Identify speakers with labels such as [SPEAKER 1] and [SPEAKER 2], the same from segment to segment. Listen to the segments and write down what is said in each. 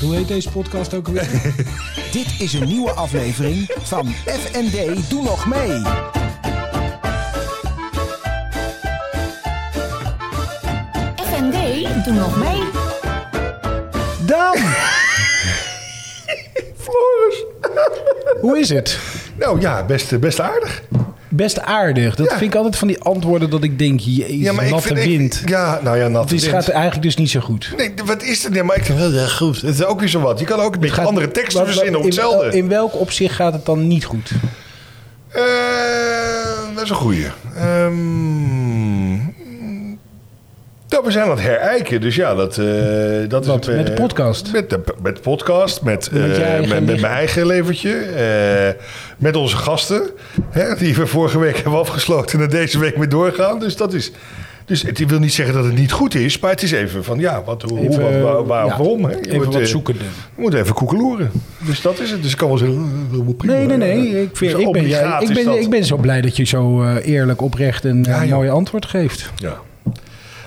[SPEAKER 1] Hoe heet deze podcast ook alweer?
[SPEAKER 2] Dit is een nieuwe aflevering van FND Doe Nog Mee.
[SPEAKER 3] FND, doe nog mee.
[SPEAKER 2] Dan!
[SPEAKER 4] Floris.
[SPEAKER 1] Hoe is het?
[SPEAKER 4] Nou ja, best, best aardig.
[SPEAKER 1] Best aardig. Dat
[SPEAKER 4] Ja.
[SPEAKER 1] vind ik altijd van die antwoorden dat ik denk, jezus,
[SPEAKER 4] Ja, maar ik
[SPEAKER 1] natte
[SPEAKER 4] vind- ik-
[SPEAKER 1] wind.
[SPEAKER 4] ja, nou ja, natte
[SPEAKER 1] Het is-
[SPEAKER 4] wind.
[SPEAKER 1] gaat eigenlijk dus niet zo goed.
[SPEAKER 4] Nee, wat is er? Nee, maar ik vind ja, goed. Het is ook weer zo wat. Je kan ook een beetje
[SPEAKER 1] Gaat-
[SPEAKER 4] andere teksten
[SPEAKER 1] wat- wat-
[SPEAKER 4] verzinnen op
[SPEAKER 1] in-
[SPEAKER 4] hetzelfde.
[SPEAKER 1] In, welk opzicht gaat het dan niet goed?
[SPEAKER 4] Eh, dat is een goeie. Ehm, nou, we zijn aan het herijken, dus ja, dat, eh, dat
[SPEAKER 1] Wat,
[SPEAKER 4] is... eh,
[SPEAKER 1] met de podcast?
[SPEAKER 4] Met de, met de podcast, met, eh,
[SPEAKER 1] Met je eigen
[SPEAKER 4] met, met
[SPEAKER 1] lichaam.
[SPEAKER 4] mijn eigen levertje, eh, met onze gasten, hè, die we vorige week hebben afgesloten en er deze week mee doorgaan. Dus dat is... Dus het wil niet zeggen dat het niet goed is, maar het is even van ja, wat, hoe,
[SPEAKER 1] Even,
[SPEAKER 4] wat, waar, waar-
[SPEAKER 1] ja,
[SPEAKER 4] waarom? Hè? Je
[SPEAKER 1] even
[SPEAKER 4] wordt,
[SPEAKER 1] wat
[SPEAKER 4] eh,
[SPEAKER 1] zoekende.
[SPEAKER 4] Je moet even koekeloeren. Dus dat is het. Dus ik kan wel zeggen... eh, eh, prima.
[SPEAKER 1] Nee, nee, nee. Ik, vind,
[SPEAKER 4] Dus
[SPEAKER 1] ik, ben,
[SPEAKER 4] obligaat
[SPEAKER 1] ik,
[SPEAKER 4] is dat.
[SPEAKER 1] ben, ik ben zo blij dat je zo eh, eerlijk, oprecht en
[SPEAKER 4] Ja,
[SPEAKER 1] een
[SPEAKER 4] joh.
[SPEAKER 1] mooi antwoord geeft.
[SPEAKER 4] Ja.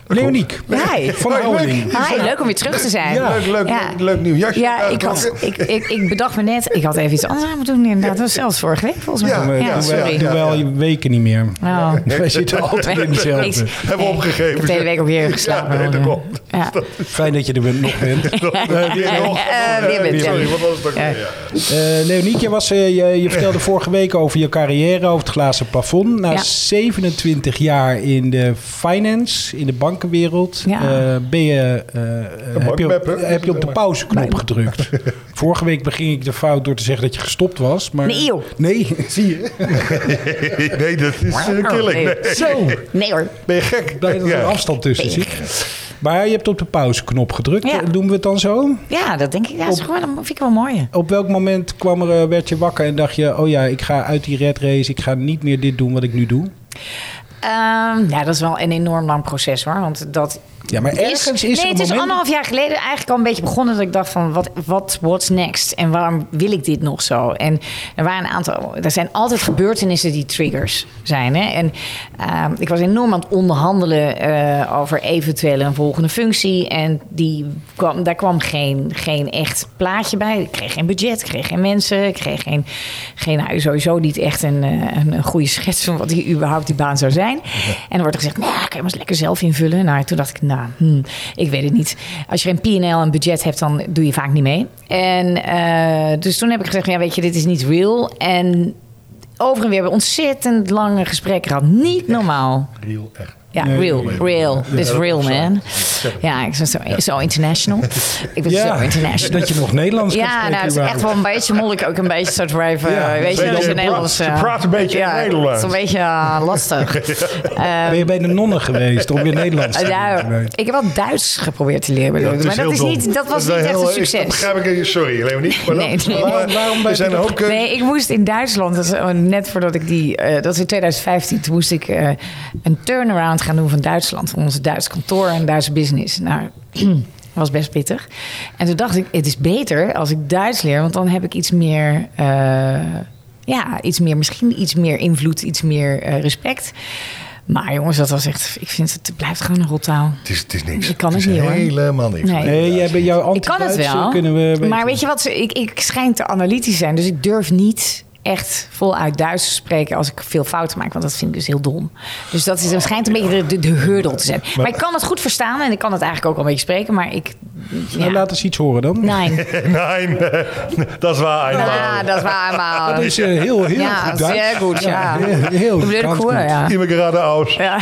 [SPEAKER 1] Leoniek.
[SPEAKER 3] Hi.
[SPEAKER 1] Van
[SPEAKER 4] Hoi,
[SPEAKER 1] Houweling.
[SPEAKER 3] Hi, leuk om weer terug te zijn.
[SPEAKER 4] Leuk, leuk,
[SPEAKER 3] Ja.
[SPEAKER 4] leuk nieuw jasje.
[SPEAKER 3] Ja, ik, had, ik, ik, ik bedacht me net, ik had even iets anders aan moeten doen inderdaad. Dat was zelfs vorige week volgens mij.
[SPEAKER 4] Ja, ja, ja,
[SPEAKER 3] sorry.
[SPEAKER 4] ja.
[SPEAKER 1] Doe wel Eh, je weken niet meer.
[SPEAKER 3] Oh.
[SPEAKER 1] Wij zitten altijd in hetzelfde.
[SPEAKER 3] Ik-
[SPEAKER 4] Hebben we opgegeven.
[SPEAKER 3] Ik heb de hele week ook weer geslapen.
[SPEAKER 4] Ja, nee, dat komt.
[SPEAKER 3] Ja.
[SPEAKER 1] Fijn dat je er nog bent.
[SPEAKER 4] Weer nog.
[SPEAKER 3] Eh, weer bent, ja.
[SPEAKER 4] Sorry, wat was het ook?
[SPEAKER 3] Ja.
[SPEAKER 4] weer? Ja.
[SPEAKER 1] Eh Leoniek, je, was, eh, je, je vertelde vorige week over je carrière, over het glazen plafond. Na
[SPEAKER 3] Ja.
[SPEAKER 1] 27 jaar in de finance, in de bankenwereld,
[SPEAKER 3] Ja.
[SPEAKER 1] eh, ben je, eh, heb, je,
[SPEAKER 4] bankmap, hè?
[SPEAKER 1] heb je op de pauzeknop gedrukt. Vorige week beging ik de fout door te zeggen dat je gestopt was. Maar...
[SPEAKER 3] Nee, joh.
[SPEAKER 1] Nee, zie je.
[SPEAKER 4] Nee, dat is eh, killing. Nee.
[SPEAKER 1] Zo,
[SPEAKER 3] Nee hoor.
[SPEAKER 4] Ben je gek?
[SPEAKER 1] blij dat er
[SPEAKER 4] Ja.
[SPEAKER 1] een afstand tussen
[SPEAKER 3] Nee.
[SPEAKER 1] zit. Maar je hebt op de pauzeknop gedrukt.
[SPEAKER 3] Ja.
[SPEAKER 1] Doen we het dan zo?
[SPEAKER 3] Ja, dat denk ik. Ja, dat, is gewoon, dat vind ik wel
[SPEAKER 4] Ehm.
[SPEAKER 3] mooi.
[SPEAKER 1] Op welk moment kwam er, eh, werd je wakker en dacht je... oh ja, ik ga uit die red race, ik ga niet meer dit doen wat ik nu doe?
[SPEAKER 3] Ehm ja, dat is wel een enorm lang proces hoor. Want dat
[SPEAKER 1] Ja, maar ergens is,
[SPEAKER 3] nee, het
[SPEAKER 1] er een
[SPEAKER 3] is
[SPEAKER 1] moment...
[SPEAKER 3] anderhalf jaar geleden eigenlijk al een beetje begonnen dat ik dacht van wat wat what's next en waarom wil ik dit nog zo? En er waren een aantal, er zijn altijd gebeurtenissen die triggers zijn. Hè? En ehm, ik was enorm aan het onderhandelen eh, over eventueel een volgende functie en die kwam, daar kwam geen, geen echt plaatje bij. Ik kreeg geen budget, ik kreeg geen mensen, ik kreeg geen, geen nou, sowieso niet echt een, eh, een, een goede schets van wat die überhaupt die baan zou zijn. En er wordt er gezegd, nou, kan je maar eens lekker zelf invullen. Nou, toen dacht ik, nou, hmm, ik weet het niet. Als je geen P&L en budget hebt, dan doe je vaak niet mee. En eh, dus toen heb ik gezegd, ja, weet je, dit is niet real. En over en weer hebben we ontzettend lange gesprekken gehad. Niet normaal.
[SPEAKER 4] Real, echt.
[SPEAKER 3] Ja,
[SPEAKER 1] Nee,
[SPEAKER 3] real,
[SPEAKER 4] nee, nee.
[SPEAKER 3] real.
[SPEAKER 4] Ja,
[SPEAKER 3] This
[SPEAKER 4] dat
[SPEAKER 3] real,
[SPEAKER 4] klopt zo.
[SPEAKER 3] man.
[SPEAKER 4] zeg het.
[SPEAKER 3] Ja, ik ben zo, zo international. Ik ben
[SPEAKER 1] Ja,
[SPEAKER 3] zo international.
[SPEAKER 1] dat je nog Nederlands kan
[SPEAKER 3] Ja,
[SPEAKER 1] spreken
[SPEAKER 3] nou, het is
[SPEAKER 1] überhaupt.
[SPEAKER 3] echt wel een beetje moeilijk. Ook een beetje soort drive.
[SPEAKER 1] Ja, een
[SPEAKER 3] weet je,
[SPEAKER 4] beetje
[SPEAKER 3] dat is
[SPEAKER 4] pra-
[SPEAKER 3] een Nederlands...
[SPEAKER 4] ze
[SPEAKER 3] eh,
[SPEAKER 4] praten een beetje in
[SPEAKER 3] Het is
[SPEAKER 4] Nederlands.
[SPEAKER 3] een beetje eh, lastig. Ehm,
[SPEAKER 1] Ben je bij de nonnen geweest om weer Nederlands te
[SPEAKER 3] ja,
[SPEAKER 1] leren? Nee.
[SPEAKER 3] nou, ik heb wel Duits geprobeerd te leren. bedoel ik.
[SPEAKER 4] is
[SPEAKER 3] maar dat,
[SPEAKER 4] heel
[SPEAKER 3] is
[SPEAKER 4] dom.
[SPEAKER 3] niet, dat was
[SPEAKER 4] is wel
[SPEAKER 3] niet echt
[SPEAKER 4] heel-
[SPEAKER 3] een
[SPEAKER 4] is- dat
[SPEAKER 3] succes.
[SPEAKER 4] Begrijp ik, sorry, Leonie. Maar
[SPEAKER 3] Nee,
[SPEAKER 4] dat-
[SPEAKER 3] nee.
[SPEAKER 4] Waarom,
[SPEAKER 1] Waarom ben
[SPEAKER 4] er
[SPEAKER 1] je
[SPEAKER 4] zijn een hoop keuzes.
[SPEAKER 3] eh, Nee, ik moest in Duitsland, dat is, eh, net voordat ik die, eh, dat is in 2015, toen moest ik eh, een turnaround gaan doen van Duitsland, van onze Duits kantoor en Duitse business. Nou, was best pittig. En toen dacht ik, het is beter als ik Duits leer, want dan heb ik iets meer, eh, ja, iets meer, misschien iets meer invloed, iets meer eh, respect. Maar jongens, dat was echt, ik vind het, het blijft gewoon een rottaal.
[SPEAKER 4] Het is, het is niks.
[SPEAKER 3] Ik kan
[SPEAKER 4] het
[SPEAKER 3] het
[SPEAKER 4] is
[SPEAKER 3] niet, hoor.
[SPEAKER 4] Helemaal niks.
[SPEAKER 3] Nee.
[SPEAKER 1] Nee, jij bent jouw
[SPEAKER 3] Ik kan het
[SPEAKER 1] anti-Duits
[SPEAKER 3] wel.
[SPEAKER 1] eh, kunnen we... weten.
[SPEAKER 3] maar weet je wat? ze- Ik, ik schijn te analytisch te zijn. Dus ik durf niet echt voluit Duits te spreken als ik veel fouten maak. Want dat vind ik dus heel dom. Dus dat is, dat schijnt een beetje de, de, de hurdel te zijn. Maar, ik kan het goed verstaan en ik kan het eigenlijk ook al een beetje spreken. Maar ik...
[SPEAKER 1] Nou,
[SPEAKER 3] Ja.
[SPEAKER 1] laat eens iets horen dan.
[SPEAKER 3] Nee,
[SPEAKER 4] Nee, nee, dat is waar.
[SPEAKER 3] nou, dat is waar,
[SPEAKER 1] Dat
[SPEAKER 3] maar...
[SPEAKER 1] is eh, heel, heel
[SPEAKER 3] Ja,
[SPEAKER 1] goed Duits.
[SPEAKER 3] zeer goed, ja.
[SPEAKER 1] heel, heel
[SPEAKER 3] Ik bedoel,
[SPEAKER 1] kant
[SPEAKER 3] cool,
[SPEAKER 1] goed.
[SPEAKER 3] ja.
[SPEAKER 4] Iemand gerade aus.
[SPEAKER 3] Ja.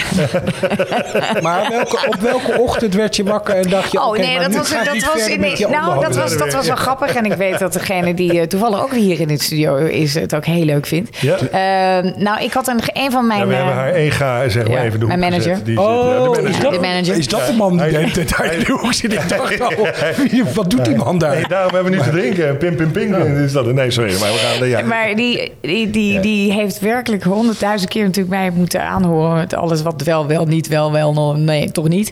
[SPEAKER 1] Maar welke, op welke ochtend werd je wakker en dacht je...
[SPEAKER 3] Oh
[SPEAKER 1] oké,
[SPEAKER 3] nee,
[SPEAKER 1] maar
[SPEAKER 3] dat
[SPEAKER 1] nu
[SPEAKER 3] was,
[SPEAKER 1] ga ik
[SPEAKER 3] dat
[SPEAKER 1] niet
[SPEAKER 3] was,
[SPEAKER 1] verder
[SPEAKER 3] in,
[SPEAKER 1] met je
[SPEAKER 3] nou, dat,
[SPEAKER 1] onderhandelen.
[SPEAKER 3] was, dat was wel grappig. En ik weet dat degene die eh, toevallig ook hier in het studio is, het ook heel leuk vindt.
[SPEAKER 4] Ja.
[SPEAKER 3] Eh, nou, ik had een, een van mijn...
[SPEAKER 4] Ja, we
[SPEAKER 3] eh,
[SPEAKER 4] hebben haar ega, zeg maar
[SPEAKER 3] ja,
[SPEAKER 4] even de hoek
[SPEAKER 3] mijn manager.
[SPEAKER 4] gezet. Die zit- ja, de
[SPEAKER 1] Oh,
[SPEAKER 4] manager.
[SPEAKER 1] is dat,
[SPEAKER 3] De manager.
[SPEAKER 1] is dat de man die
[SPEAKER 4] Hij-
[SPEAKER 1] de hele tijd daar in de hoek zit? Ik dacht al, wie- wat doet die man
[SPEAKER 4] Nee,
[SPEAKER 1] daar?
[SPEAKER 4] daarom hebben we nu te drinken. Pim, pim, ping. Is dat, nee, sorry. Maar we gaan... Ja.
[SPEAKER 3] Maar die, die, die, die heeft werkelijk honderdduizend keer natuurlijk mij moeten aanhoren met alles wat wel, wel, niet, wel, wel, no, nee, toch niet.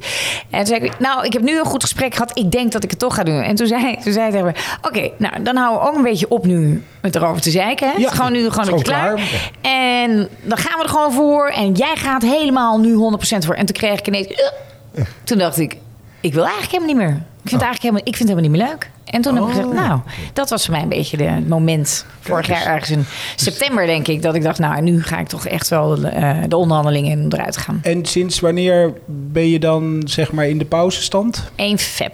[SPEAKER 3] En toen zei ik, nou, ik heb nu een goed gesprek gehad, ik denk dat ik het toch ga doen. En toen zei, toen zei hij tegen me, oké, nou, dan houden we ook een beetje op nu met erover te zeiken. Hè?
[SPEAKER 1] Ja,
[SPEAKER 3] Het is gewoon nu gewoon,
[SPEAKER 1] het is
[SPEAKER 3] weer
[SPEAKER 1] gewoon
[SPEAKER 3] klaar. En dan gaan we er gewoon voor en jij gaat helemaal nu 100% voor. En toen kreeg ik ineens, eh. toen dacht ik, ik wil eigenlijk helemaal niet meer. Ik vind, het eigenlijk helemaal, ik vind het helemaal niet meer leuk. En toen heb ik gezegd, nou, dat was voor mij een beetje de- het moment. Vorig
[SPEAKER 4] eens.
[SPEAKER 3] jaar ergens in september, denk ik, dat ik dacht, nou, nu ga ik toch echt wel eh, de onderhandelingen in eruit gaan.
[SPEAKER 1] En sinds wanneer ben je dan zeg maar in de pauzestand?
[SPEAKER 3] 1 feb.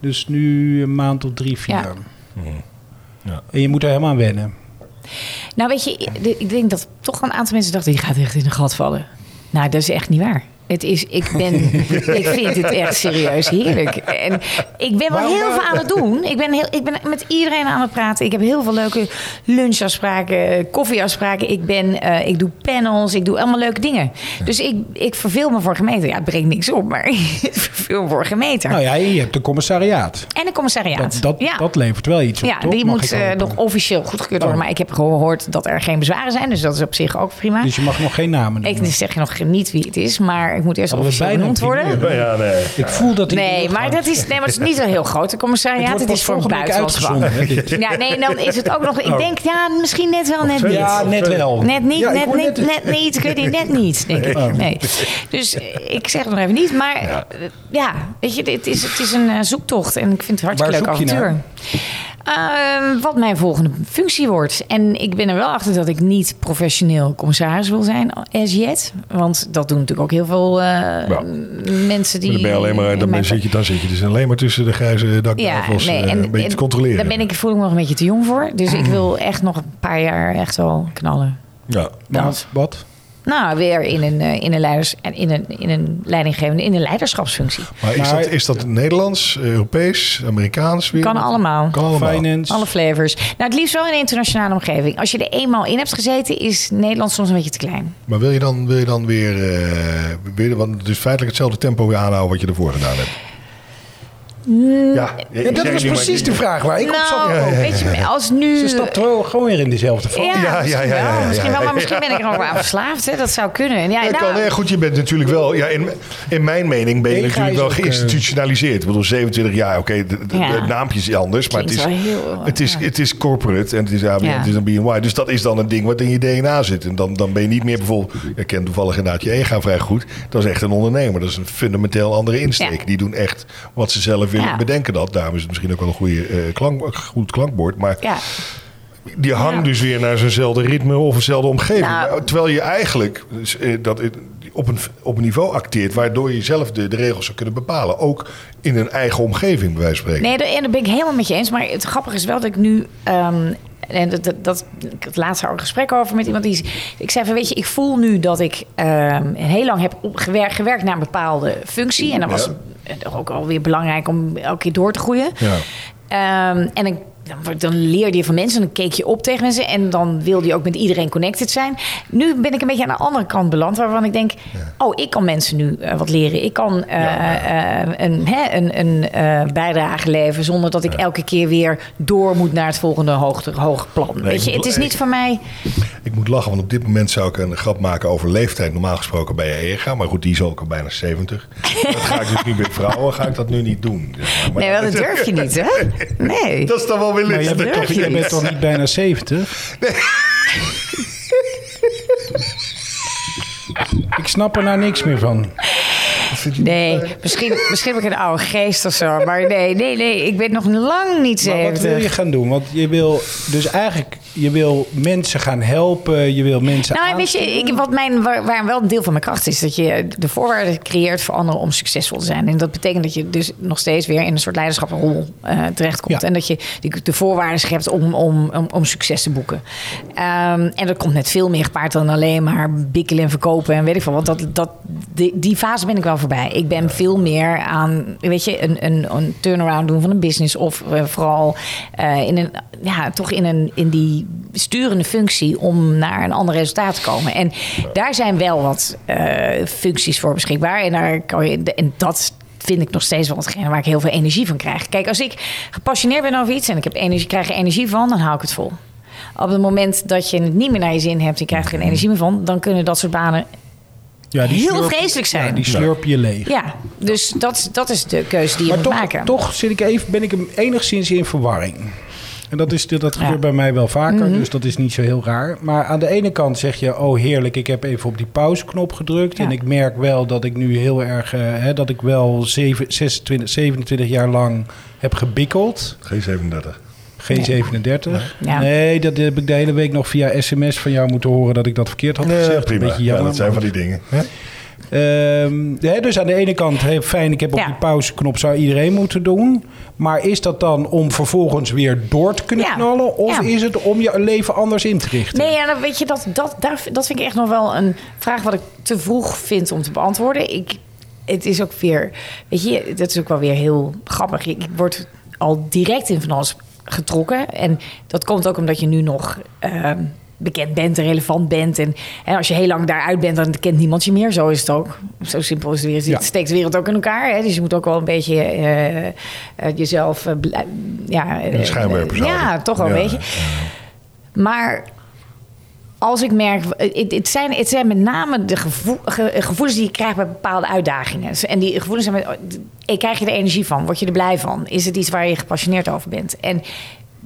[SPEAKER 1] Dus nu een maand of drie, vier. Hmm.
[SPEAKER 3] Ja.
[SPEAKER 4] Ja.
[SPEAKER 1] En je moet er helemaal aan wennen.
[SPEAKER 3] Nou, weet je, de- ik denk dat toch wel een aantal mensen dachten: die gaat echt in een gat vallen. Nou, dat is echt niet waar. Het is, ik ben, ik vind het echt serieus heerlijk. En ik ben wel
[SPEAKER 1] Waarom-
[SPEAKER 3] heel veel aan het doen. Ik ben, heel, ik ben met iedereen aan het praten. Ik heb heel veel leuke lunchafspraken, koffieafspraken. Ik, ben, eh, ik doe panels, ik doe allemaal leuke dingen. Dus ik, ik verveel me voor gemeente. Ja, het brengt niks op, maar ik verveel me voor gemeente.
[SPEAKER 1] Nou ja, je hebt een commissariaat.
[SPEAKER 3] En een commissariaat.
[SPEAKER 1] Dat, dat,
[SPEAKER 3] ja.
[SPEAKER 1] dat levert wel iets op,
[SPEAKER 3] Ja,
[SPEAKER 1] toch?
[SPEAKER 3] die
[SPEAKER 1] Mag
[SPEAKER 3] moet
[SPEAKER 1] ik
[SPEAKER 3] eh,
[SPEAKER 1] hopen.
[SPEAKER 3] nog officieel goedgekeurd worden.
[SPEAKER 1] Oh.
[SPEAKER 3] Maar ik heb gehoord dat er geen bezwaren zijn. Dus dat is op zich ook prima.
[SPEAKER 1] Dus je mag nog geen namen noemen.
[SPEAKER 3] ik zeg je nog niet wie het is, maar ik moet eerst
[SPEAKER 1] Hadden we
[SPEAKER 3] officieel
[SPEAKER 1] bijna
[SPEAKER 3] genoemd
[SPEAKER 1] opnieuw,
[SPEAKER 3] worden.
[SPEAKER 1] hè?
[SPEAKER 4] Ja, nee.
[SPEAKER 1] Ik voel dat hij
[SPEAKER 3] Nee, maar dat is, nee, maar het is niet een heel grote commissariaat. Het,
[SPEAKER 1] wordt pas
[SPEAKER 3] is voor
[SPEAKER 1] volgende week
[SPEAKER 3] buitenlands
[SPEAKER 1] uitgezonden.
[SPEAKER 3] belang.
[SPEAKER 1] hè, Oh. dit.
[SPEAKER 3] Ja, nee, dan is het ook nog... Ik denk, ja, misschien net wel, net
[SPEAKER 4] twee.
[SPEAKER 3] niet.
[SPEAKER 1] Ja, net
[SPEAKER 4] Oh.
[SPEAKER 1] wel.
[SPEAKER 3] Net niet,
[SPEAKER 1] Ja, ik
[SPEAKER 3] net,
[SPEAKER 1] hoor
[SPEAKER 3] niet,
[SPEAKER 1] net-
[SPEAKER 3] net niet. Ik weet niet, net niet, denk ik. Nee.
[SPEAKER 4] Oh.
[SPEAKER 3] Dus eh, ik zeg het nog even niet. Maar eh, ja, weet je, het is, het is een eh, zoektocht. En ik vind het hartstikke
[SPEAKER 1] Waar zoek
[SPEAKER 3] leuk
[SPEAKER 1] je
[SPEAKER 3] avontuur. Ehm, wat mijn volgende functie wordt. En ik ben er wel achter dat ik niet professioneel commissaris wil zijn, as yet. Want dat doen natuurlijk ook heel veel eh, mensen die...
[SPEAKER 4] Dan ben je alleen maar,
[SPEAKER 3] in
[SPEAKER 4] dan
[SPEAKER 3] mijn-
[SPEAKER 4] ben, zit je, dan zit je dus alleen maar tussen de grijze daknavels ja,
[SPEAKER 3] en-
[SPEAKER 4] eh, een beetje
[SPEAKER 3] en
[SPEAKER 4] te controleren. Mm.
[SPEAKER 3] Daar ben ik, voel ik me nog een beetje te jong voor. Dus ik wil echt nog een paar jaar echt wel knallen.
[SPEAKER 4] Ja.
[SPEAKER 1] Maar wat?
[SPEAKER 3] Nou, weer in een, eh, in een, leiders, en in een, in een leidinggevende, in een leiderschapsfunctie.
[SPEAKER 4] Maar is,
[SPEAKER 1] Maar-
[SPEAKER 4] dat, is dat Nederlands, Europees, Amerikaans? Weer?
[SPEAKER 3] Kan allemaal.
[SPEAKER 4] Kan allemaal.
[SPEAKER 1] Finance.
[SPEAKER 3] Alle flavors. Nou, het liefst wel in een internationale omgeving. Als je er eenmaal in hebt gezeten, is Nederland soms een beetje te klein.
[SPEAKER 4] Maar wil je dan, wil je dan weer, eh, weer... Want dus feitelijk hetzelfde tempo weer aanhouden wat je ervoor gedaan hebt.
[SPEAKER 3] Mm.
[SPEAKER 4] Ja,
[SPEAKER 1] Ja, dat was precies de vraag waar ik op zat.
[SPEAKER 3] nou, weet je, als
[SPEAKER 1] Ze
[SPEAKER 3] nu...
[SPEAKER 1] stapt wel gewoon weer in dezelfde val.
[SPEAKER 3] Ja,
[SPEAKER 4] Ja, ja,
[SPEAKER 3] misschien
[SPEAKER 4] ja, ja,
[SPEAKER 3] wel.
[SPEAKER 4] ja,
[SPEAKER 3] Misschien wel,
[SPEAKER 4] ja.
[SPEAKER 3] maar misschien ben ik er ook wel aan verslaafd. Hè. Dat zou kunnen. Ja,
[SPEAKER 4] Dat
[SPEAKER 3] nou,
[SPEAKER 4] kan, hè. Goed, je bent natuurlijk wel... Ja, in, in mijn mening ben je
[SPEAKER 1] Ik ga
[SPEAKER 4] natuurlijk
[SPEAKER 1] eens
[SPEAKER 4] wel
[SPEAKER 1] ook, eh,
[SPEAKER 4] geïnstitutionaliseerd. Ik bedoel, 27 jaar, oké, de- de-
[SPEAKER 3] Ja.
[SPEAKER 4] het naampje is anders. Maar het is,
[SPEAKER 3] Klinkt wel heel, eh,
[SPEAKER 4] het, is,
[SPEAKER 3] ja.
[SPEAKER 4] het is corporate en het is ABN,
[SPEAKER 3] Ja.
[SPEAKER 4] het is een BNY. Dus dat is dan een ding wat in je DNA zit. En dan, dan ben je niet meer bijvoorbeeld... Ik ken toevallig inderdaad je EGA vrij goed. Dat is echt een ondernemer. Dat is een fundamenteel andere insteek.
[SPEAKER 3] Ja.
[SPEAKER 4] Die doen echt wat ze zelf willen
[SPEAKER 3] Ja.
[SPEAKER 4] bedenken dat. Daarom is het misschien ook wel een goede, eh, klank, goed klankbord. Maar
[SPEAKER 3] ja.
[SPEAKER 4] die hangt dus weer naar zijnzelfde ritme of eenzelfde omgeving.
[SPEAKER 3] Nou.
[SPEAKER 4] Maar Terwijl je eigenlijk dus, eh, dat eh, op, een, op een niveau acteert waardoor je zelf de, de regels zou kunnen bepalen. Ook in een eigen omgeving, bij wijze van spreken.
[SPEAKER 3] Nee, daar daar ben ik helemaal met je eens. Maar het grappige is wel dat ik nu. ehm, en dat, dat, dat, ik had laatst daar ook een gesprek over met iemand die. is- Ik zei van, weet je, ik voel nu dat ik ehm, heel lang heb op- gewer- gewerkt naar een bepaalde functie. En dan was
[SPEAKER 4] Ja.
[SPEAKER 3] het toch ook alweer belangrijk om elke keer door te groeien.
[SPEAKER 4] Ja.
[SPEAKER 3] Ehm, en ik, dan, word- dan leerde je van mensen, dan keek je op tegen mensen en dan wilde je ook met iedereen connected zijn. Nu ben ik een beetje aan de andere kant beland, waarvan ik denk: oh, ik kan mensen nu eh, wat leren. Ik kan eh, eh, een, hè, een, een eh, bijdrage leveren zonder dat ik elke keer weer door moet naar het volgende hoogte, hoog plan. Weet je,
[SPEAKER 4] ik-
[SPEAKER 3] het is niet
[SPEAKER 4] ik-
[SPEAKER 3] voor mij.
[SPEAKER 4] Ik moet lachen, want op dit moment zou ik een grap maken over leeftijd. Normaal gesproken bij je EGA. Maar goed, die is ook al bijna 70. Dat ga ik dus niet met vrouwen, ga ik dat nu niet doen. zeg maar. Maar
[SPEAKER 3] Nee, wel, dat durf je niet, hè? Nee.
[SPEAKER 4] Dat is dan wel weer
[SPEAKER 1] Maar jij
[SPEAKER 4] lastig.
[SPEAKER 1] bent,
[SPEAKER 3] durf
[SPEAKER 1] toch,
[SPEAKER 3] je
[SPEAKER 1] jij
[SPEAKER 3] niet.
[SPEAKER 1] bent toch niet bijna 70? Ik snap er nou niks meer van.
[SPEAKER 3] Nee, misschien, misschien ben ik een oude geest of zo. Maar nee, nee, nee, ik ben nog lang niet
[SPEAKER 1] Maar wat
[SPEAKER 3] 70.
[SPEAKER 1] wil je gaan doen? Want je wil dus eigenlijk je wil mensen gaan helpen. Je wil mensen
[SPEAKER 3] Nou, weet je, ik, wat mijn, waar, waar wel een deel van mijn kracht is, dat je de voorwaarden creëert voor anderen om succesvol te zijn. En dat betekent dat je dus nog steeds weer in een soort leiderschapsrol eh terechtkomt.
[SPEAKER 1] Ja.
[SPEAKER 3] En dat je die- de voorwaarden schept om, om, om, om succes te boeken. Ehm, en dat komt net veel meer gepaard dan alleen maar bikkelen en verkopen en weet ik veel. Want dat, dat, die, die fase ben ik wel voorbij. Ik ben veel meer aan, weet je, een, een, een turnaround doen van een business. Of eh, vooral eh, in een, ja, toch in, een, in die sturende functie om naar een ander resultaat te komen. En daar zijn wel wat eh, functies voor beschikbaar. En, daar kan je, en dat vind ik nog steeds wel hetgene waar ik heel veel energie van krijg. Kijk, als ik gepassioneerd ben over iets en ik heb energie, krijg er energie van, dan hou ik het vol. Op het moment dat je het niet meer naar je zin hebt, je krijgt er geen energie meer van, dan kunnen dat soort banen.
[SPEAKER 1] ja,
[SPEAKER 3] heel vreselijk zijn.
[SPEAKER 1] ja, die slurp je leeg.
[SPEAKER 3] Ja, dus dat, dat is de keuze die je
[SPEAKER 1] maar
[SPEAKER 3] moet
[SPEAKER 1] toch,
[SPEAKER 3] maken.
[SPEAKER 1] toch zit ik even, ben ik hem enigszins in verwarring. En dat, is, dat gebeurt
[SPEAKER 3] Ja. Mhm.
[SPEAKER 1] bij mij wel vaker, dus dat is niet zo heel raar. Maar aan de ene kant zeg je, oh heerlijk, ik heb even op die pauzeknop gedrukt.
[SPEAKER 3] Ja.
[SPEAKER 1] En ik merk wel dat ik nu heel erg, eh, hè, dat ik wel zeven- 26, 27 jaar lang heb gebikkeld.
[SPEAKER 4] Geen 37.
[SPEAKER 1] Geen 37.
[SPEAKER 3] Ja.
[SPEAKER 1] Nee, dat heb ik de hele week nog via sms van jou moeten horen dat ik dat verkeerd had
[SPEAKER 4] Nee,
[SPEAKER 1] gezegd.
[SPEAKER 4] prima.
[SPEAKER 1] Beetje
[SPEAKER 4] Ja,
[SPEAKER 1] jammer,
[SPEAKER 4] dat zijn
[SPEAKER 1] maar
[SPEAKER 4] van die dingen.
[SPEAKER 1] Ehm, hè, dus aan de ene kant, heel fijn, ik heb op
[SPEAKER 3] Ja.
[SPEAKER 1] die pauzeknop, zou iedereen moeten doen. Maar is dat dan om vervolgens weer door te kunnen
[SPEAKER 3] Ja.
[SPEAKER 1] knallen? Of
[SPEAKER 3] Ja.
[SPEAKER 1] is het om je leven anders in te richten?
[SPEAKER 3] Nee, ja, dan weet je, dat, dat, daar, dat vind ik echt nog wel een vraag wat ik te vroeg vind om te beantwoorden. Ik, het is ook weer, weet je, dat is ook wel weer heel grappig. Ik word al direct in van alles getrokken. En dat komt ook omdat je nu nog ehm, bekend bent en relevant bent. En, en als je heel lang daaruit bent, dan kent niemand je meer. Zo is het ook. Zo simpel is de wereld.
[SPEAKER 1] Ja.
[SPEAKER 3] Het steekt de wereld ook in elkaar. Hè? Dus je moet ook wel een beetje eh, eh, jezelf... eh, blij- ja, eh,
[SPEAKER 4] de schijnwerpers
[SPEAKER 3] Ja,
[SPEAKER 4] houden.
[SPEAKER 3] toch wel
[SPEAKER 4] Ja.
[SPEAKER 3] een beetje. Maar als ik merk, het, het zijn, het zijn met name de gevo- ge- gevoelens die je krijgt bij bepaalde uitdagingen. Dus, En die gevoelens zijn, met- eh, krijg je er energie van? Word je er blij van? Is het iets waar je gepassioneerd over bent? En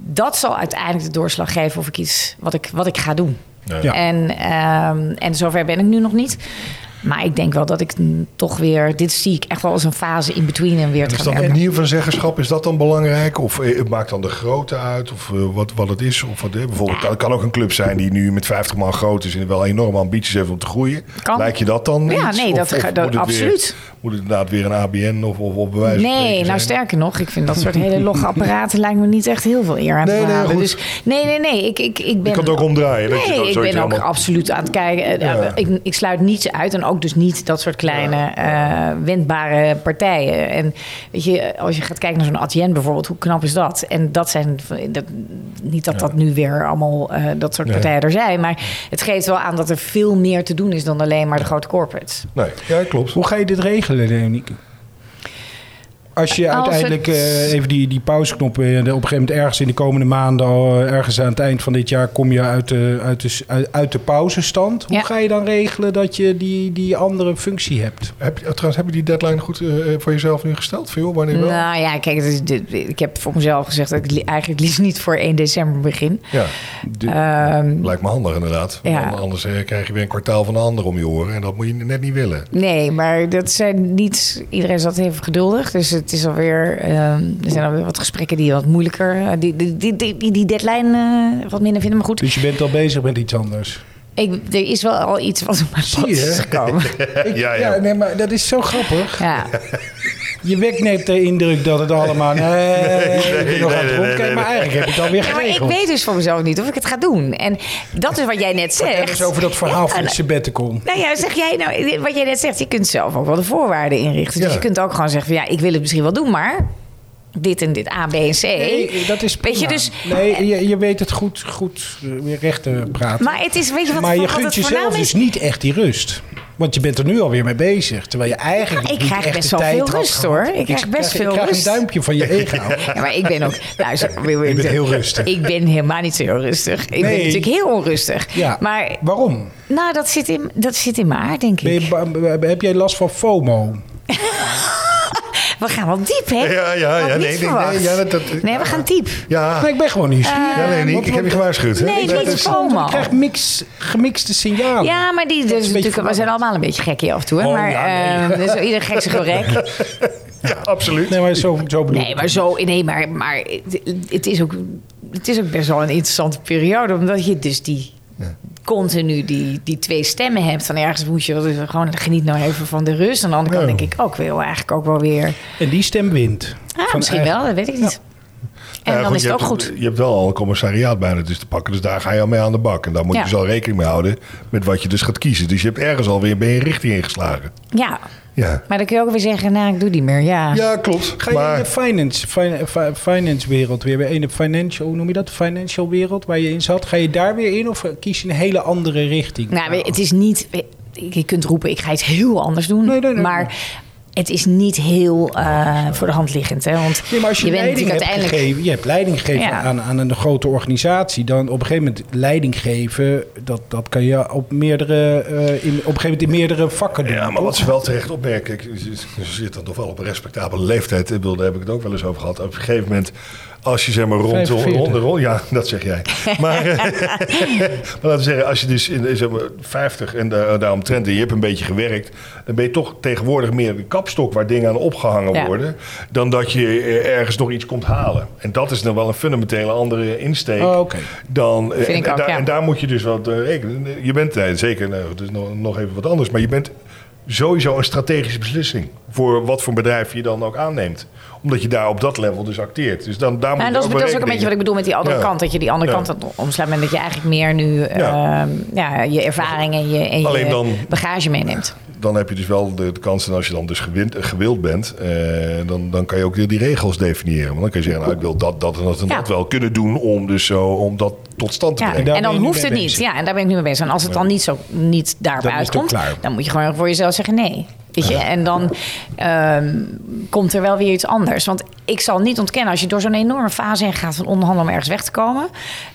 [SPEAKER 3] dat zal uiteindelijk de doorslag geven of ik iets, wat ik, wat ik ga doen.
[SPEAKER 1] Ja.
[SPEAKER 3] En, ehm, en zover ben ik nu nog niet. Maar ik denk wel dat ik mm, toch weer, dit zie ik echt wel als een fase in between en weer
[SPEAKER 4] Is
[SPEAKER 3] te gaan
[SPEAKER 4] dat
[SPEAKER 3] werken.
[SPEAKER 4] een manier van zeggenschap, is dat dan belangrijk? Of eh, het maakt dan de grootte uit? Of eh, wat, wat het is? Of wat, eh, bijvoorbeeld, het kan ook een club zijn die nu met 50 man groot is... en wel enorme ambities heeft om te groeien.
[SPEAKER 3] Kan.
[SPEAKER 4] Lijkt je dat dan
[SPEAKER 3] Ja,
[SPEAKER 4] iets?
[SPEAKER 3] nee,
[SPEAKER 4] Of-
[SPEAKER 3] dat-
[SPEAKER 4] of moet
[SPEAKER 3] dat-
[SPEAKER 4] het weer-
[SPEAKER 3] absoluut.
[SPEAKER 4] moet het inderdaad weer een ABN of, of, of bewijs
[SPEAKER 3] Nee, nou sterker nog, ik vind dat soort hele logge apparaten lijkt me niet echt heel veel eer aan
[SPEAKER 4] Nee,
[SPEAKER 3] te
[SPEAKER 4] nee,
[SPEAKER 3] halen.
[SPEAKER 4] goed.
[SPEAKER 3] dus nee, nee, nee. Ik, ik, ik ben
[SPEAKER 4] kan het ook omdraaien, dat je
[SPEAKER 3] Nee,
[SPEAKER 4] zo-
[SPEAKER 3] ik
[SPEAKER 4] zoiets
[SPEAKER 3] ben ook
[SPEAKER 4] allemaal-
[SPEAKER 3] absoluut aan het kijken. Eh,
[SPEAKER 4] Ja.
[SPEAKER 3] Ik, ik sluit niets uit en ook dus niet dat soort kleine eh, wendbare partijen. En weet je, als je gaat kijken naar zo'n Adyen bijvoorbeeld, hoe knap is dat? En dat zijn, dat, niet dat dat nu weer allemaal eh, dat soort
[SPEAKER 4] Nee.
[SPEAKER 3] partijen er zijn, maar het geeft wel aan dat er veel meer te doen is dan alleen maar de grote corporates.
[SPEAKER 4] Nee, ja, klopt.
[SPEAKER 1] Hoe ga je dit regelen, Leonieke? Als je
[SPEAKER 3] Als
[SPEAKER 1] uiteindelijk
[SPEAKER 3] het-
[SPEAKER 1] eh, even die, die pauzeknop... eh, op een gegeven moment ergens in de komende maanden... al, eh, ergens aan het eind van dit jaar kom je uit de, uit de, s- uit, uit de pauzestand. Hoe
[SPEAKER 3] Ja.
[SPEAKER 1] ga je dan regelen dat je die, die andere functie hebt?
[SPEAKER 4] Heb, je- trouwens, heb je die deadline goed eh, voor jezelf nu gesteld? Voor jou, wanneer wel?
[SPEAKER 3] Nou ja, kijk, het is- dit- ik heb voor mezelf gezegd dat ik li- eigenlijk liefst niet voor 1 december begin.
[SPEAKER 4] Ja,
[SPEAKER 3] Ehm,
[SPEAKER 4] lijkt me handig inderdaad.
[SPEAKER 3] Ja.
[SPEAKER 4] Want Anders eh, krijg je weer een kwartaal van de ander om je oren. En dat moet je net niet willen.
[SPEAKER 3] nee, maar dat zijn niet. Iedereen is altijd even geduldig. Dus het is alweer. ehm, er zijn alweer wat gesprekken die wat moeilijker. eh, die, die, die, die, die deadline eh, wat minder vinden. Maar goed,
[SPEAKER 1] Dus je bent al bezig met iets anders.
[SPEAKER 3] ik, er is wel al iets wat op mijn pad
[SPEAKER 1] je,
[SPEAKER 3] is
[SPEAKER 1] hè?
[SPEAKER 3] gekomen.
[SPEAKER 1] Ik-
[SPEAKER 4] ja,
[SPEAKER 1] ja,
[SPEAKER 4] ja.
[SPEAKER 1] nee, maar dat is zo grappig.
[SPEAKER 3] Ja.
[SPEAKER 1] Je wegneemt de indruk dat het allemaal... Nee, ik ben
[SPEAKER 4] nee,
[SPEAKER 1] nog aan het
[SPEAKER 4] nee,
[SPEAKER 1] rondkijken,
[SPEAKER 4] nee, nee.
[SPEAKER 1] maar eigenlijk heb ik het alweer
[SPEAKER 3] Ja, maar
[SPEAKER 1] geregeld.
[SPEAKER 3] ik weet dus voor mezelf niet of ik het ga doen. En dat is wat jij net
[SPEAKER 1] Vertel
[SPEAKER 3] zegt.
[SPEAKER 1] eens over dat verhaal van Sabbatical.
[SPEAKER 3] Nou ja, zeg jij nou, wat jij net zegt, je kunt zelf ook wel de voorwaarden inrichten. Dus
[SPEAKER 4] Ja.
[SPEAKER 3] je kunt ook gewoon zeggen van ja, ik wil het misschien wel doen, maar dit en dit A, B en C.
[SPEAKER 1] Nee, dat is
[SPEAKER 3] Weet je,
[SPEAKER 1] prima.
[SPEAKER 3] dus-
[SPEAKER 1] Nee, je, je weet het goed, goed eh, weer recht te praten.
[SPEAKER 3] Maar het is, weet je wat,
[SPEAKER 1] maar je
[SPEAKER 3] wat
[SPEAKER 1] gunt
[SPEAKER 3] het
[SPEAKER 1] jezelf
[SPEAKER 3] voornaam
[SPEAKER 1] dus
[SPEAKER 3] is?
[SPEAKER 1] niet echt die rust. Want je bent er nu alweer mee bezig. Terwijl je eigenlijk
[SPEAKER 3] Ja, ik
[SPEAKER 1] niet
[SPEAKER 3] krijg
[SPEAKER 1] echt
[SPEAKER 3] best
[SPEAKER 1] de
[SPEAKER 3] wel
[SPEAKER 1] tijd
[SPEAKER 3] veel
[SPEAKER 1] had
[SPEAKER 3] rust,
[SPEAKER 1] gehad.
[SPEAKER 3] hoor. Ik krijg best
[SPEAKER 1] ik
[SPEAKER 3] veel
[SPEAKER 1] krijg
[SPEAKER 3] rust.
[SPEAKER 1] een duimpje van je ego.
[SPEAKER 3] Ja, maar ik ben ook... Nou, zo-
[SPEAKER 1] Je bent heel rustig.
[SPEAKER 3] Ik ben helemaal niet zo heel rustig. Ik
[SPEAKER 1] Nee.
[SPEAKER 3] ben natuurlijk heel onrustig.
[SPEAKER 1] Ja,
[SPEAKER 3] Maar
[SPEAKER 1] waarom?
[SPEAKER 3] nou, dat zit in, dat zit in mijn aard, denk
[SPEAKER 1] Ben
[SPEAKER 3] ik.
[SPEAKER 1] je ba- ba- heb jij last van FOMO?
[SPEAKER 3] We gaan wel diep, hè?
[SPEAKER 4] Ja, ja, ja,
[SPEAKER 3] Had ik niet
[SPEAKER 4] nee, nee,
[SPEAKER 3] verwacht.
[SPEAKER 4] nee, ja, dat- dat-
[SPEAKER 3] nee, we gaan diep.
[SPEAKER 4] Ja,
[SPEAKER 1] Nee, ik ben gewoon niet.
[SPEAKER 4] Ah. ja nee, nee, ik heb je gewaarschuwd. hè?
[SPEAKER 3] Nee,
[SPEAKER 4] Dat
[SPEAKER 3] niet
[SPEAKER 4] is-
[SPEAKER 3] FOMO.
[SPEAKER 1] Ik krijg mix, gemixte signalen.
[SPEAKER 3] Ja, maar die,
[SPEAKER 1] is een
[SPEAKER 3] dus
[SPEAKER 1] beetje
[SPEAKER 3] natuurlijk, we zijn allemaal een beetje gek hier af en toe. Hè?
[SPEAKER 1] Oh,
[SPEAKER 3] maar
[SPEAKER 1] ja,
[SPEAKER 3] ehm, dus ieder gek zijn gek.
[SPEAKER 4] Ja, absoluut.
[SPEAKER 1] Nee, maar zo, zo bedoel
[SPEAKER 3] Nee,
[SPEAKER 1] ik.
[SPEAKER 3] maar zo. Nee, maar, maar het, het is ook, het is ook best wel een interessante periode. Omdat je dus die. Continu die, die twee stemmen hebt. Van ergens moet je dus gewoon geniet nou even van de rust. Aan de andere kant
[SPEAKER 4] Ja.
[SPEAKER 3] denk ik ook wel eigenlijk ook wel weer.
[SPEAKER 1] En die stem wint.
[SPEAKER 3] Ah,
[SPEAKER 1] Van
[SPEAKER 3] misschien
[SPEAKER 1] eigen-
[SPEAKER 3] wel, dat weet ik niet. En
[SPEAKER 4] Ja,
[SPEAKER 3] dan
[SPEAKER 4] goed,
[SPEAKER 3] is
[SPEAKER 4] je
[SPEAKER 3] het ook
[SPEAKER 4] hebt-
[SPEAKER 3] goed.
[SPEAKER 4] Je hebt wel al een commissariaat bijna dus te pakken. Dus daar ga je al mee aan de bak. En daar moet
[SPEAKER 3] Ja.
[SPEAKER 4] je dus al rekening mee houden met wat je dus gaat kiezen. Dus je hebt ergens alweer ben je een richting ingeslagen.
[SPEAKER 3] Ja,
[SPEAKER 4] Ja,
[SPEAKER 3] maar dan kun je ook weer zeggen: Nou, ik doe die meer. Ja.
[SPEAKER 4] ja klopt.
[SPEAKER 1] Ga je
[SPEAKER 4] maar,
[SPEAKER 1] in de finance, fin- fi- finance wereld weer, weer in de financial, hoe noem je dat? Financial wereld waar je in zat. Ga je daar weer in of kies je een hele andere richting?
[SPEAKER 3] Nou, maar het is niet. Je kunt roepen, ik ga iets heel anders doen.
[SPEAKER 1] Nee, nee, nee.
[SPEAKER 3] maar het is niet heel eh, voor de hand liggend. Hè? Want
[SPEAKER 1] Nee, maar als je, leiding hebt gegeven, je hebt leiding gegeven
[SPEAKER 3] Ja.
[SPEAKER 1] aan, aan een grote organisatie, dan op een gegeven moment leiding geven, dat, dat kan je op, meerdere, eh, in, op een gegeven moment in meerdere vakken doen.
[SPEAKER 4] Ja, maar wat
[SPEAKER 1] toch?
[SPEAKER 4] ze wel terecht opmerken, ik- ze ze zitten dan toch wel op een respectabele leeftijd. Ik bedoel, daar heb ik het ook wel eens over gehad. Op een gegeven moment, Als je zeg maar rond, rond,
[SPEAKER 1] 45.
[SPEAKER 4] rond, rond- ja, dat zeg jij. Maar, eh, maar laten we zeggen, als je dus in, eh, zeg maar, 50 en da- daaromtrent en je hebt een beetje gewerkt, dan ben je toch tegenwoordig meer een kapstok waar dingen aan opgehangen
[SPEAKER 3] Ja.
[SPEAKER 4] worden, dan dat je eh, ergens nog iets komt halen. En dat is dan wel een fundamentele andere insteek
[SPEAKER 1] Oh, oké.
[SPEAKER 4] dan. eh,
[SPEAKER 3] Vind
[SPEAKER 4] en,
[SPEAKER 3] ik
[SPEAKER 4] en
[SPEAKER 3] ook,
[SPEAKER 4] daar,
[SPEAKER 3] ja.
[SPEAKER 4] en daar moet je dus wat eh, rekenen. Je bent eh, zeker, nou, het is nog, nog even wat anders, maar je bent sowieso een strategische beslissing voor wat voor bedrijf je dan ook aanneemt, omdat je daar op dat level dus acteert. Dus dan daar moet
[SPEAKER 3] Nou,
[SPEAKER 4] je
[SPEAKER 3] dat, is,
[SPEAKER 4] wel
[SPEAKER 3] dat is ook een
[SPEAKER 4] rekening
[SPEAKER 3] beetje wat ik bedoel met die andere
[SPEAKER 4] Ja.
[SPEAKER 3] kant. Dat je die andere
[SPEAKER 4] Ja.
[SPEAKER 3] kant dan omslaat. En dat je eigenlijk meer nu
[SPEAKER 4] Ja.
[SPEAKER 3] ehm, ja, je ervaring en je, en je
[SPEAKER 4] Alleen dan-
[SPEAKER 3] bagage meeneemt.
[SPEAKER 4] dan heb je dus wel de, de kans, en als je dan dus gewin- gewild bent, eh, dan, dan kan je ook weer die regels definiëren. Want dan kan je zeggen, nou, ik wil dat, dat en dat en
[SPEAKER 3] Ja.
[SPEAKER 4] dat wel kunnen doen om, dus zo, om dat tot stand te
[SPEAKER 3] Ja.
[SPEAKER 4] brengen.
[SPEAKER 1] daar
[SPEAKER 3] En
[SPEAKER 1] ben je
[SPEAKER 3] dan
[SPEAKER 1] nu
[SPEAKER 3] hoeft
[SPEAKER 1] mee
[SPEAKER 3] het niet.
[SPEAKER 1] bezig.
[SPEAKER 3] Ja, en daar ben ik nu mee bezig. En als het dan niet, zo, niet daarbij
[SPEAKER 1] Dan is het ook
[SPEAKER 3] uitkomt,
[SPEAKER 1] klaar.
[SPEAKER 3] dan moet je gewoon voor jezelf zeggen nee. Weet je? En dan ehm, komt er wel weer iets anders. Want ik zal niet ontkennen, als je door zo'n enorme fase heen gaat van onderhandelen om ergens weg te komen,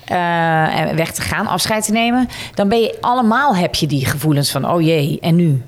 [SPEAKER 3] eh, en weg te gaan, afscheid te nemen, dan ben je allemaal heb je die gevoelens van oh jee, en nu?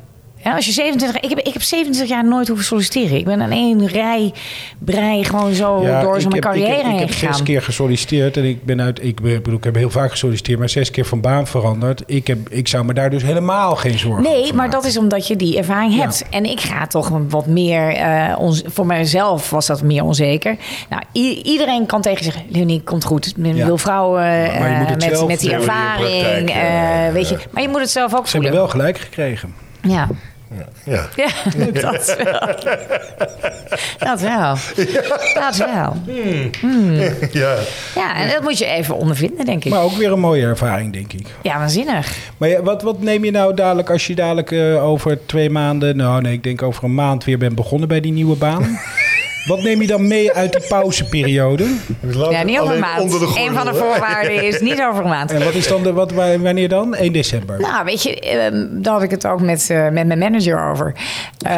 [SPEAKER 3] Ja, als je 27, ik, heb, ik heb 27 jaar nooit hoeven solliciteren. Ik ben aan één rij, brei gewoon zo
[SPEAKER 1] Ja,
[SPEAKER 3] door
[SPEAKER 1] ik
[SPEAKER 3] zo'n
[SPEAKER 1] heb- ik heb-
[SPEAKER 3] carrière
[SPEAKER 1] Ik
[SPEAKER 3] heen
[SPEAKER 1] heb zes
[SPEAKER 3] gegaan.
[SPEAKER 1] keer gesolliciteerd en ik ben uit. Ik bedoel, ik heb heel vaak gesolliciteerd, maar zes keer van baan veranderd. Ik, heb, ik zou me daar dus helemaal geen zorgen over
[SPEAKER 3] Nee, maar
[SPEAKER 1] maken.
[SPEAKER 3] dat is omdat je die ervaring
[SPEAKER 1] eh, Ja.
[SPEAKER 3] hebt. En ik ga toch een wat meer. eh, ons, voor mijzelf was dat meer onzeker. Nou, i- iedereen kan tegen zeggen: Leonie, komt goed. Met
[SPEAKER 1] Ja.
[SPEAKER 3] veel vrouwen eh,
[SPEAKER 1] Maar je moet het
[SPEAKER 3] met,
[SPEAKER 1] zelf
[SPEAKER 3] met die
[SPEAKER 4] doen in de
[SPEAKER 3] ervaring.
[SPEAKER 4] praktijk,
[SPEAKER 3] eh,
[SPEAKER 4] eh,
[SPEAKER 3] weet je.
[SPEAKER 4] eh.
[SPEAKER 3] Maar je moet het zelf ook
[SPEAKER 1] Ze hebben
[SPEAKER 3] voelen.
[SPEAKER 1] wel gelijk gekregen.
[SPEAKER 3] Ja.
[SPEAKER 4] Ja.
[SPEAKER 3] Ja, dat wel. Dat wel. Dat wel.
[SPEAKER 4] ja.
[SPEAKER 3] Ja, en dat moet je even ondervinden, denk ik.
[SPEAKER 1] Maar ook weer een mooie ervaring, denk ik.
[SPEAKER 3] Ja, waanzinnig.
[SPEAKER 1] Maar ja, wat, wat neem je nou dadelijk als je dadelijk eh, over twee maanden... Nou nee, ik denk over een maand weer bent begonnen bij die nieuwe baan. wat neem je dan mee uit die pauzeperiode?
[SPEAKER 4] Dus laten
[SPEAKER 3] Ja,
[SPEAKER 4] we
[SPEAKER 3] niet over een
[SPEAKER 4] alleen
[SPEAKER 3] maand.
[SPEAKER 4] onder de
[SPEAKER 3] Een van de
[SPEAKER 4] gordel, hè?
[SPEAKER 3] voorwaarden is niet over een maand.
[SPEAKER 1] En wat is dan de, wat, wa- wanneer dan? 1 december.
[SPEAKER 3] Nou, weet je, ehm, daar had ik het ook met, eh, met mijn manager over. Eh,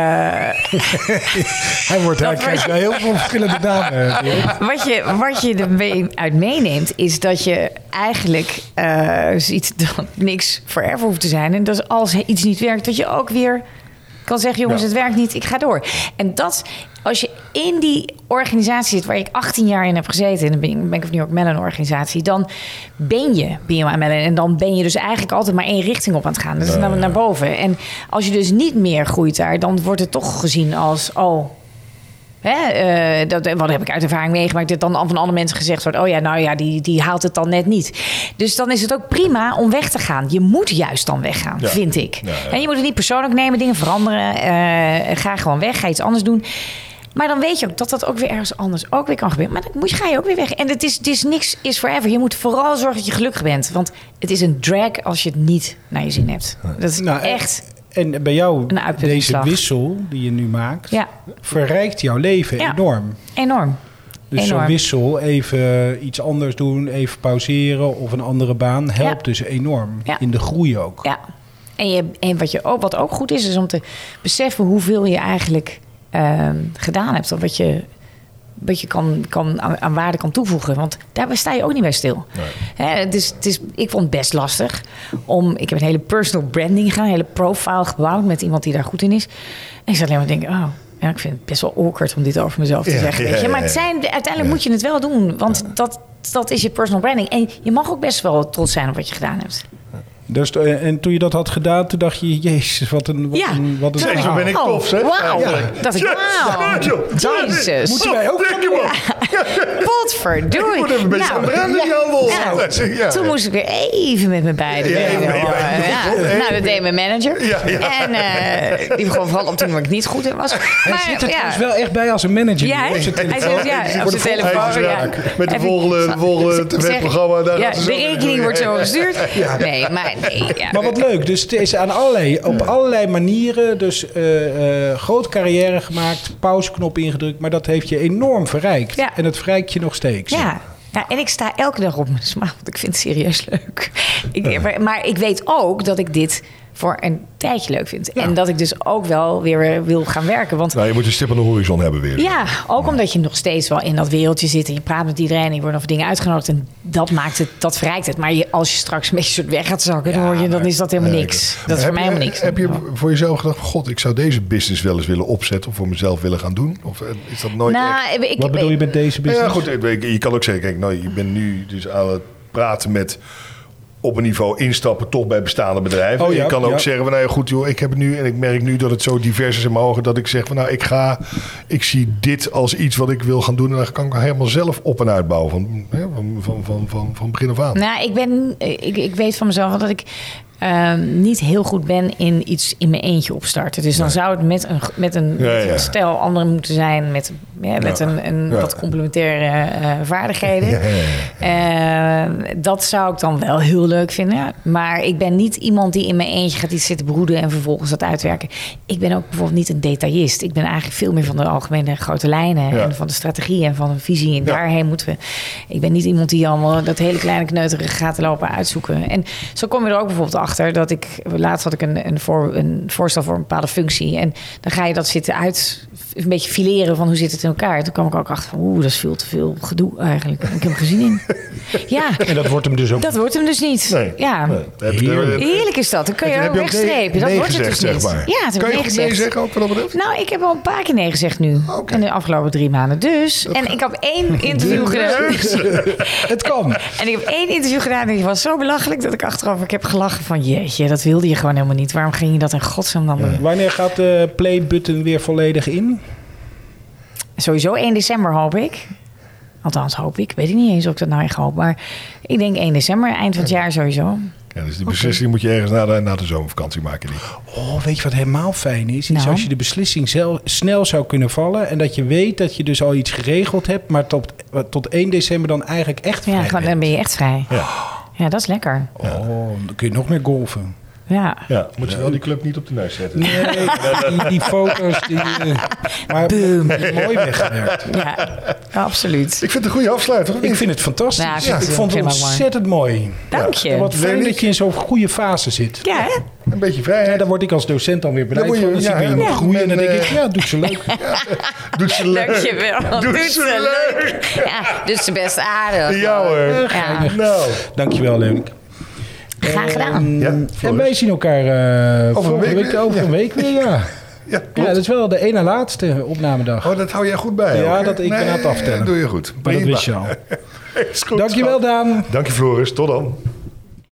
[SPEAKER 1] Hij wordt hij
[SPEAKER 3] dat
[SPEAKER 1] krijgt
[SPEAKER 3] wordt-
[SPEAKER 1] wel heel veel verschillende eh, namen.
[SPEAKER 3] wat, je, wat je eruit meeneemt, is dat je eigenlijk eh, ziet dat niks forever hoeft te zijn. En dat als iets niet werkt, dat je ook weer kan zeggen: jongens,
[SPEAKER 4] Ja.
[SPEAKER 3] het werkt niet, ik ga door. En dat, als je in die organisatie zit waar ik 18 jaar in heb gezeten, in de Bank Bank of New York Mellon organisatie, dan ben je BMA Mellon. En dan ben je dus eigenlijk altijd maar één richting op aan het gaan. Dat is namelijk naar boven. En als je dus niet meer groeit daar, dan wordt het toch gezien als: oh. Hè, eh, dat, wat heb ik uit ervaring meegemaakt? Dat dan van andere mensen gezegd wordt: oh ja, nou ja, die, die haalt het dan net niet. Dus dan is het ook prima om weg te gaan. Je moet juist dan weggaan,
[SPEAKER 4] Ja.
[SPEAKER 3] vind ik.
[SPEAKER 4] Ja, ja.
[SPEAKER 3] En je moet het niet persoonlijk nemen, dingen veranderen. eh, ga gewoon weg, ga iets anders doen. Maar dan weet je ook dat dat ook weer ergens anders ook weer kan gebeuren. Maar dan moet je, ga je ook weer weg. En het is, het is niks is forever. Je moet vooral zorgen dat je gelukkig bent. Want het is een drag als je het niet naar je zin hebt. Dat is
[SPEAKER 1] Nou,
[SPEAKER 3] echt.
[SPEAKER 1] En bij jou,
[SPEAKER 3] Een
[SPEAKER 1] deze
[SPEAKER 3] uitputtingsslag.
[SPEAKER 1] wissel die je nu maakt,
[SPEAKER 3] Ja,
[SPEAKER 1] verrijkt jouw leven
[SPEAKER 3] Ja.
[SPEAKER 1] enorm.
[SPEAKER 3] enorm.
[SPEAKER 1] Dus zo'n
[SPEAKER 3] Enorm.
[SPEAKER 1] wissel, even iets anders doen, even pauzeren of een andere baan, helpt dus enorm.
[SPEAKER 3] Ja.
[SPEAKER 1] In de groei ook.
[SPEAKER 3] Ja. En, je, en wat, je ook, wat ook goed is, is om te beseffen hoeveel je eigenlijk ehm, gedaan hebt. Of wat je, wat je kan, kan, aan, aan waarde kan toevoegen. Want daar sta je ook niet bij stil. Hè, het is, het is, ik vond het best lastig om. Ik heb een hele personal branding gedaan, een hele profile gebouwd met iemand die daar goed in is. En ik zat alleen maar te denken, oh. Ja, ik vind het best wel awkward om dit over mezelf te
[SPEAKER 4] Ja,
[SPEAKER 3] zeggen.
[SPEAKER 4] ja,
[SPEAKER 3] weet je.
[SPEAKER 4] ja,
[SPEAKER 3] Maar het
[SPEAKER 4] ja.
[SPEAKER 3] zijn, uiteindelijk moet je het wel doen. Want dat, dat is je personal branding. En je mag ook best wel trots zijn op wat je gedaan hebt.
[SPEAKER 1] Dus, eh, en toen je dat had gedaan, toen dacht je, jezus, wat een... Wat
[SPEAKER 3] Ja.
[SPEAKER 1] een, wat een
[SPEAKER 4] Jezus,
[SPEAKER 1] verhaal.
[SPEAKER 4] wat ben ik
[SPEAKER 3] Oh,
[SPEAKER 4] tof, zeg.
[SPEAKER 3] wauw.
[SPEAKER 4] Eigenlijk.
[SPEAKER 3] Dat ik- wauw.
[SPEAKER 4] Jezus.
[SPEAKER 3] Jezus. Moeten
[SPEAKER 1] wij ook
[SPEAKER 4] Oh, denk je wel.
[SPEAKER 3] Potverdorie.
[SPEAKER 4] Ik moet even een beetje
[SPEAKER 3] Nou,
[SPEAKER 4] aan branden, die handel. Ja.
[SPEAKER 3] Toen moest ik weer even met mijn beide
[SPEAKER 4] Ja,
[SPEAKER 3] benen
[SPEAKER 4] even met je
[SPEAKER 3] op,
[SPEAKER 4] beide
[SPEAKER 3] eh, ja.
[SPEAKER 4] benen op.
[SPEAKER 3] Nou, dat deed mijn manager.
[SPEAKER 4] Ja, ja.
[SPEAKER 3] En eh, die begon vooral op toen ik niet goed in was.
[SPEAKER 1] Hij
[SPEAKER 3] Maar,
[SPEAKER 1] zit er
[SPEAKER 3] ja.
[SPEAKER 1] trouwens wel echt bij als een manager.
[SPEAKER 3] Ja,
[SPEAKER 1] hè, op zijn
[SPEAKER 3] hij
[SPEAKER 1] telefoon.
[SPEAKER 3] zit- ja,
[SPEAKER 1] Voor
[SPEAKER 3] op
[SPEAKER 1] de
[SPEAKER 3] zijn
[SPEAKER 1] volgende-
[SPEAKER 3] telefoon.
[SPEAKER 4] Hij is
[SPEAKER 3] ja.
[SPEAKER 4] raak. Met de
[SPEAKER 3] Even-
[SPEAKER 4] volgende- de volgende
[SPEAKER 3] Zeg-
[SPEAKER 4] tv-programma, daar
[SPEAKER 3] Ja,
[SPEAKER 4] gaat ze zo
[SPEAKER 3] de rekening
[SPEAKER 4] mee.
[SPEAKER 3] wordt zo gestuurd. Nee, maar... Nee, ja.
[SPEAKER 1] Maar wat leuk, dus het is aan allerlei, op allerlei manieren dus eh, eh, grote carrière gemaakt, pauzeknop ingedrukt, maar dat heeft je enorm verrijkt.
[SPEAKER 3] Ja.
[SPEAKER 1] En dat verrijkt je nog steeds.
[SPEAKER 3] Ja. ja, en ik sta elke dag op mijn smaak, want ik vind het serieus leuk. Ik, maar, maar ik weet ook dat ik dit voor een tijdje leuk vind. En dat ik dus ook wel weer wil gaan werken. Want
[SPEAKER 4] Nou, je moet een stip aan de horizon hebben weer.
[SPEAKER 3] ja, ook omdat je nog steeds wel in dat wereldje zit en je praat met iedereen en je wordt over dingen uitgenodigd. En dat maakt het, dat verrijkt het. Maar je, als je straks een beetje soort weg gaat zakken, dan, hoor je, dan is dat helemaal
[SPEAKER 4] Nee,
[SPEAKER 3] niks.
[SPEAKER 4] ik-
[SPEAKER 3] Dat is
[SPEAKER 4] Maar
[SPEAKER 3] voor mij
[SPEAKER 4] heb
[SPEAKER 3] helemaal
[SPEAKER 4] je-
[SPEAKER 3] niks.
[SPEAKER 4] Heb je voor jezelf gedacht, god, ik zou deze business wel eens willen opzetten... of voor mezelf willen gaan doen? Of eh, is dat nooit echt?
[SPEAKER 3] nou, ik,
[SPEAKER 1] Wat bedoel je met deze
[SPEAKER 4] Nou
[SPEAKER 1] business?
[SPEAKER 4] Ja, goed, ik weet- je kan ook zeggen, kijk, nou, je bent nu dus aan het praten met op een niveau instappen toch bij bestaande bedrijven.
[SPEAKER 1] Oh, ja,
[SPEAKER 4] je kan ook
[SPEAKER 1] ja.
[SPEAKER 4] zeggen, van, nou ja, goed joh, ik heb het nu en ik merk nu dat het zo divers is in mijn ogen dat ik zeg van nou, ik ga, ik zie dit als iets wat ik wil gaan doen en dan kan ik helemaal zelf op en uitbouwen van, hè, van, van, van, van, van begin af aan.
[SPEAKER 3] Nou, ik, ben, ik, ik weet van mezelf wel dat ik ehm, niet heel goed ben in iets in mijn eentje opstarten. Dus dan zou het met een, met een,
[SPEAKER 4] Ja,
[SPEAKER 3] met een
[SPEAKER 4] ja.
[SPEAKER 3] stijl anderen moeten zijn. Met, ja, met
[SPEAKER 4] Ja.
[SPEAKER 3] een, een
[SPEAKER 4] Ja.
[SPEAKER 3] wat complementaire eh, vaardigheden.
[SPEAKER 4] Ja, ja,
[SPEAKER 3] Eh, dat zou ik dan wel heel leuk vinden. Maar ik ben niet iemand die in mijn eentje gaat iets zitten broeden en vervolgens dat uitwerken. Ik ben ook bijvoorbeeld niet een detailist. Ik ben eigenlijk veel meer van de algemene grote lijnen
[SPEAKER 4] Ja.
[SPEAKER 3] en van de strategie en van een visie. En
[SPEAKER 4] Ja.
[SPEAKER 3] daarheen moeten we. Ik ben niet iemand die allemaal dat hele kleine kneuterige gaat lopen uitzoeken. En zo kom je er ook bijvoorbeeld achter dat ik. Laatst had ik een, een, voor, een voorstel voor een bepaalde functie. En dan ga je dat zitten uit. Een beetje fileren van hoe zit het in elkaar. En toen kwam ik ook achter van oeh, dat is veel te veel gedoe eigenlijk. Ik heb er gezien in. Ja,
[SPEAKER 1] En dat wordt hem dus ook.
[SPEAKER 3] dat wordt hem dus niet.
[SPEAKER 4] Nee.
[SPEAKER 3] ja.
[SPEAKER 4] Nee. Heb je-
[SPEAKER 1] Heerlijk.
[SPEAKER 3] Heerlijk is dat. Dan kun je
[SPEAKER 4] heb
[SPEAKER 3] ook
[SPEAKER 4] je ook nee-
[SPEAKER 3] wegstrepen. dat
[SPEAKER 4] nee
[SPEAKER 3] wordt het dus
[SPEAKER 4] gezegd,
[SPEAKER 3] niet.
[SPEAKER 4] zeg maar.
[SPEAKER 3] Ja, het
[SPEAKER 4] Kan
[SPEAKER 3] heb
[SPEAKER 4] je
[SPEAKER 3] ik
[SPEAKER 4] goed nee
[SPEAKER 3] gezegd.
[SPEAKER 4] zeggen ook wat dat betreft?
[SPEAKER 3] Nou, ik heb al een paar keer nee gezegd nu.
[SPEAKER 4] Oké.
[SPEAKER 3] In de afgelopen drie maanden. Dus. En ik heb één interview gedaan.
[SPEAKER 1] Het kan.
[SPEAKER 3] En ik heb één interview gedaan en die was zo belachelijk dat ik achteraf ik heb gelachen van jeetje, dat wilde je gewoon helemaal niet. Waarom ging je dat in godsnaam dan doen?
[SPEAKER 1] Wanneer gaat de play-button weer volledig in?
[SPEAKER 3] Sowieso 1 december hoop ik. Althans hoop ik. Ik weet niet eens of ik dat nou echt hoop. Maar ik denk 1 december, eind van het jaar sowieso.
[SPEAKER 4] Ja, dus die beslissing moet je ergens na de, na de zomervakantie maken. Die.
[SPEAKER 1] Oh, weet je wat helemaal fijn is? Is
[SPEAKER 3] Nou.
[SPEAKER 1] als je de beslissing zelf snel zou kunnen vallen. En dat je weet dat je dus al iets geregeld hebt. Maar tot, tot 1 december dan eigenlijk echt
[SPEAKER 3] Ja,
[SPEAKER 1] vrij
[SPEAKER 3] gewoon, dan
[SPEAKER 1] bent.
[SPEAKER 3] ben je echt vrij.
[SPEAKER 4] Ja.
[SPEAKER 3] Ja, dat is lekker.
[SPEAKER 1] Oh, dan kun je nog meer golven.
[SPEAKER 3] Ja.
[SPEAKER 4] Ja, moet je wel die club niet op de neus zetten.
[SPEAKER 1] Nee, die, die foto's die... eh, maar mooi weggewerkt.
[SPEAKER 3] Ja, absoluut.
[SPEAKER 4] Ik vind het een goede afsluiter. of
[SPEAKER 1] Ik
[SPEAKER 4] niet?
[SPEAKER 1] vind het fantastisch.
[SPEAKER 3] Ja, ik
[SPEAKER 1] ik,
[SPEAKER 3] vind het
[SPEAKER 1] vond het
[SPEAKER 3] helemaal mooi.
[SPEAKER 1] ontzettend mooi.
[SPEAKER 3] Dank
[SPEAKER 1] En
[SPEAKER 3] je.
[SPEAKER 1] Wat fijn
[SPEAKER 4] Leuk.
[SPEAKER 1] dat je in zo'n goede fase zit.
[SPEAKER 3] Ja, hè?
[SPEAKER 4] Een beetje vrijheid.
[SPEAKER 1] En daar word ik als docent dan weer blij
[SPEAKER 4] Dan
[SPEAKER 1] van.
[SPEAKER 4] word je-
[SPEAKER 1] Dan zie ik
[SPEAKER 4] ja,
[SPEAKER 1] weer
[SPEAKER 4] ja.
[SPEAKER 1] iemand groeien en dan denk
[SPEAKER 4] En,
[SPEAKER 1] ik,
[SPEAKER 4] eh,
[SPEAKER 1] ja, doet ze leuk.
[SPEAKER 4] Doet ze leuk.
[SPEAKER 3] Dankjewel.
[SPEAKER 4] Doe
[SPEAKER 3] Doe
[SPEAKER 4] ze
[SPEAKER 3] ze leuk. Ja, dus de best aardig.
[SPEAKER 4] Ja hoor.
[SPEAKER 3] Ja.
[SPEAKER 4] Nou,
[SPEAKER 1] Dankjewel, Leuk.
[SPEAKER 3] Graag gedaan.
[SPEAKER 4] Ja,
[SPEAKER 1] Mm, en
[SPEAKER 4] Floris.
[SPEAKER 1] wij zien elkaar eh
[SPEAKER 4] Over een
[SPEAKER 1] volgende
[SPEAKER 4] week
[SPEAKER 1] week,
[SPEAKER 4] weer,
[SPEAKER 1] over
[SPEAKER 4] ja.
[SPEAKER 1] een week weer. Ja.
[SPEAKER 4] ja,
[SPEAKER 1] ja,
[SPEAKER 4] klopt.
[SPEAKER 1] dat is wel de ene laatste opnamedag.
[SPEAKER 4] Oh, dat hou jij goed bij.
[SPEAKER 1] Ja,
[SPEAKER 4] ook, hè?
[SPEAKER 1] dat- ik ben aan het aftellen.
[SPEAKER 4] doe je goed.
[SPEAKER 1] maar dat
[SPEAKER 4] Prima.
[SPEAKER 1] wist je al.
[SPEAKER 4] Is goed,
[SPEAKER 1] Dankjewel,
[SPEAKER 4] schat.
[SPEAKER 1] Daan.
[SPEAKER 4] Dank je Floris. Tot dan.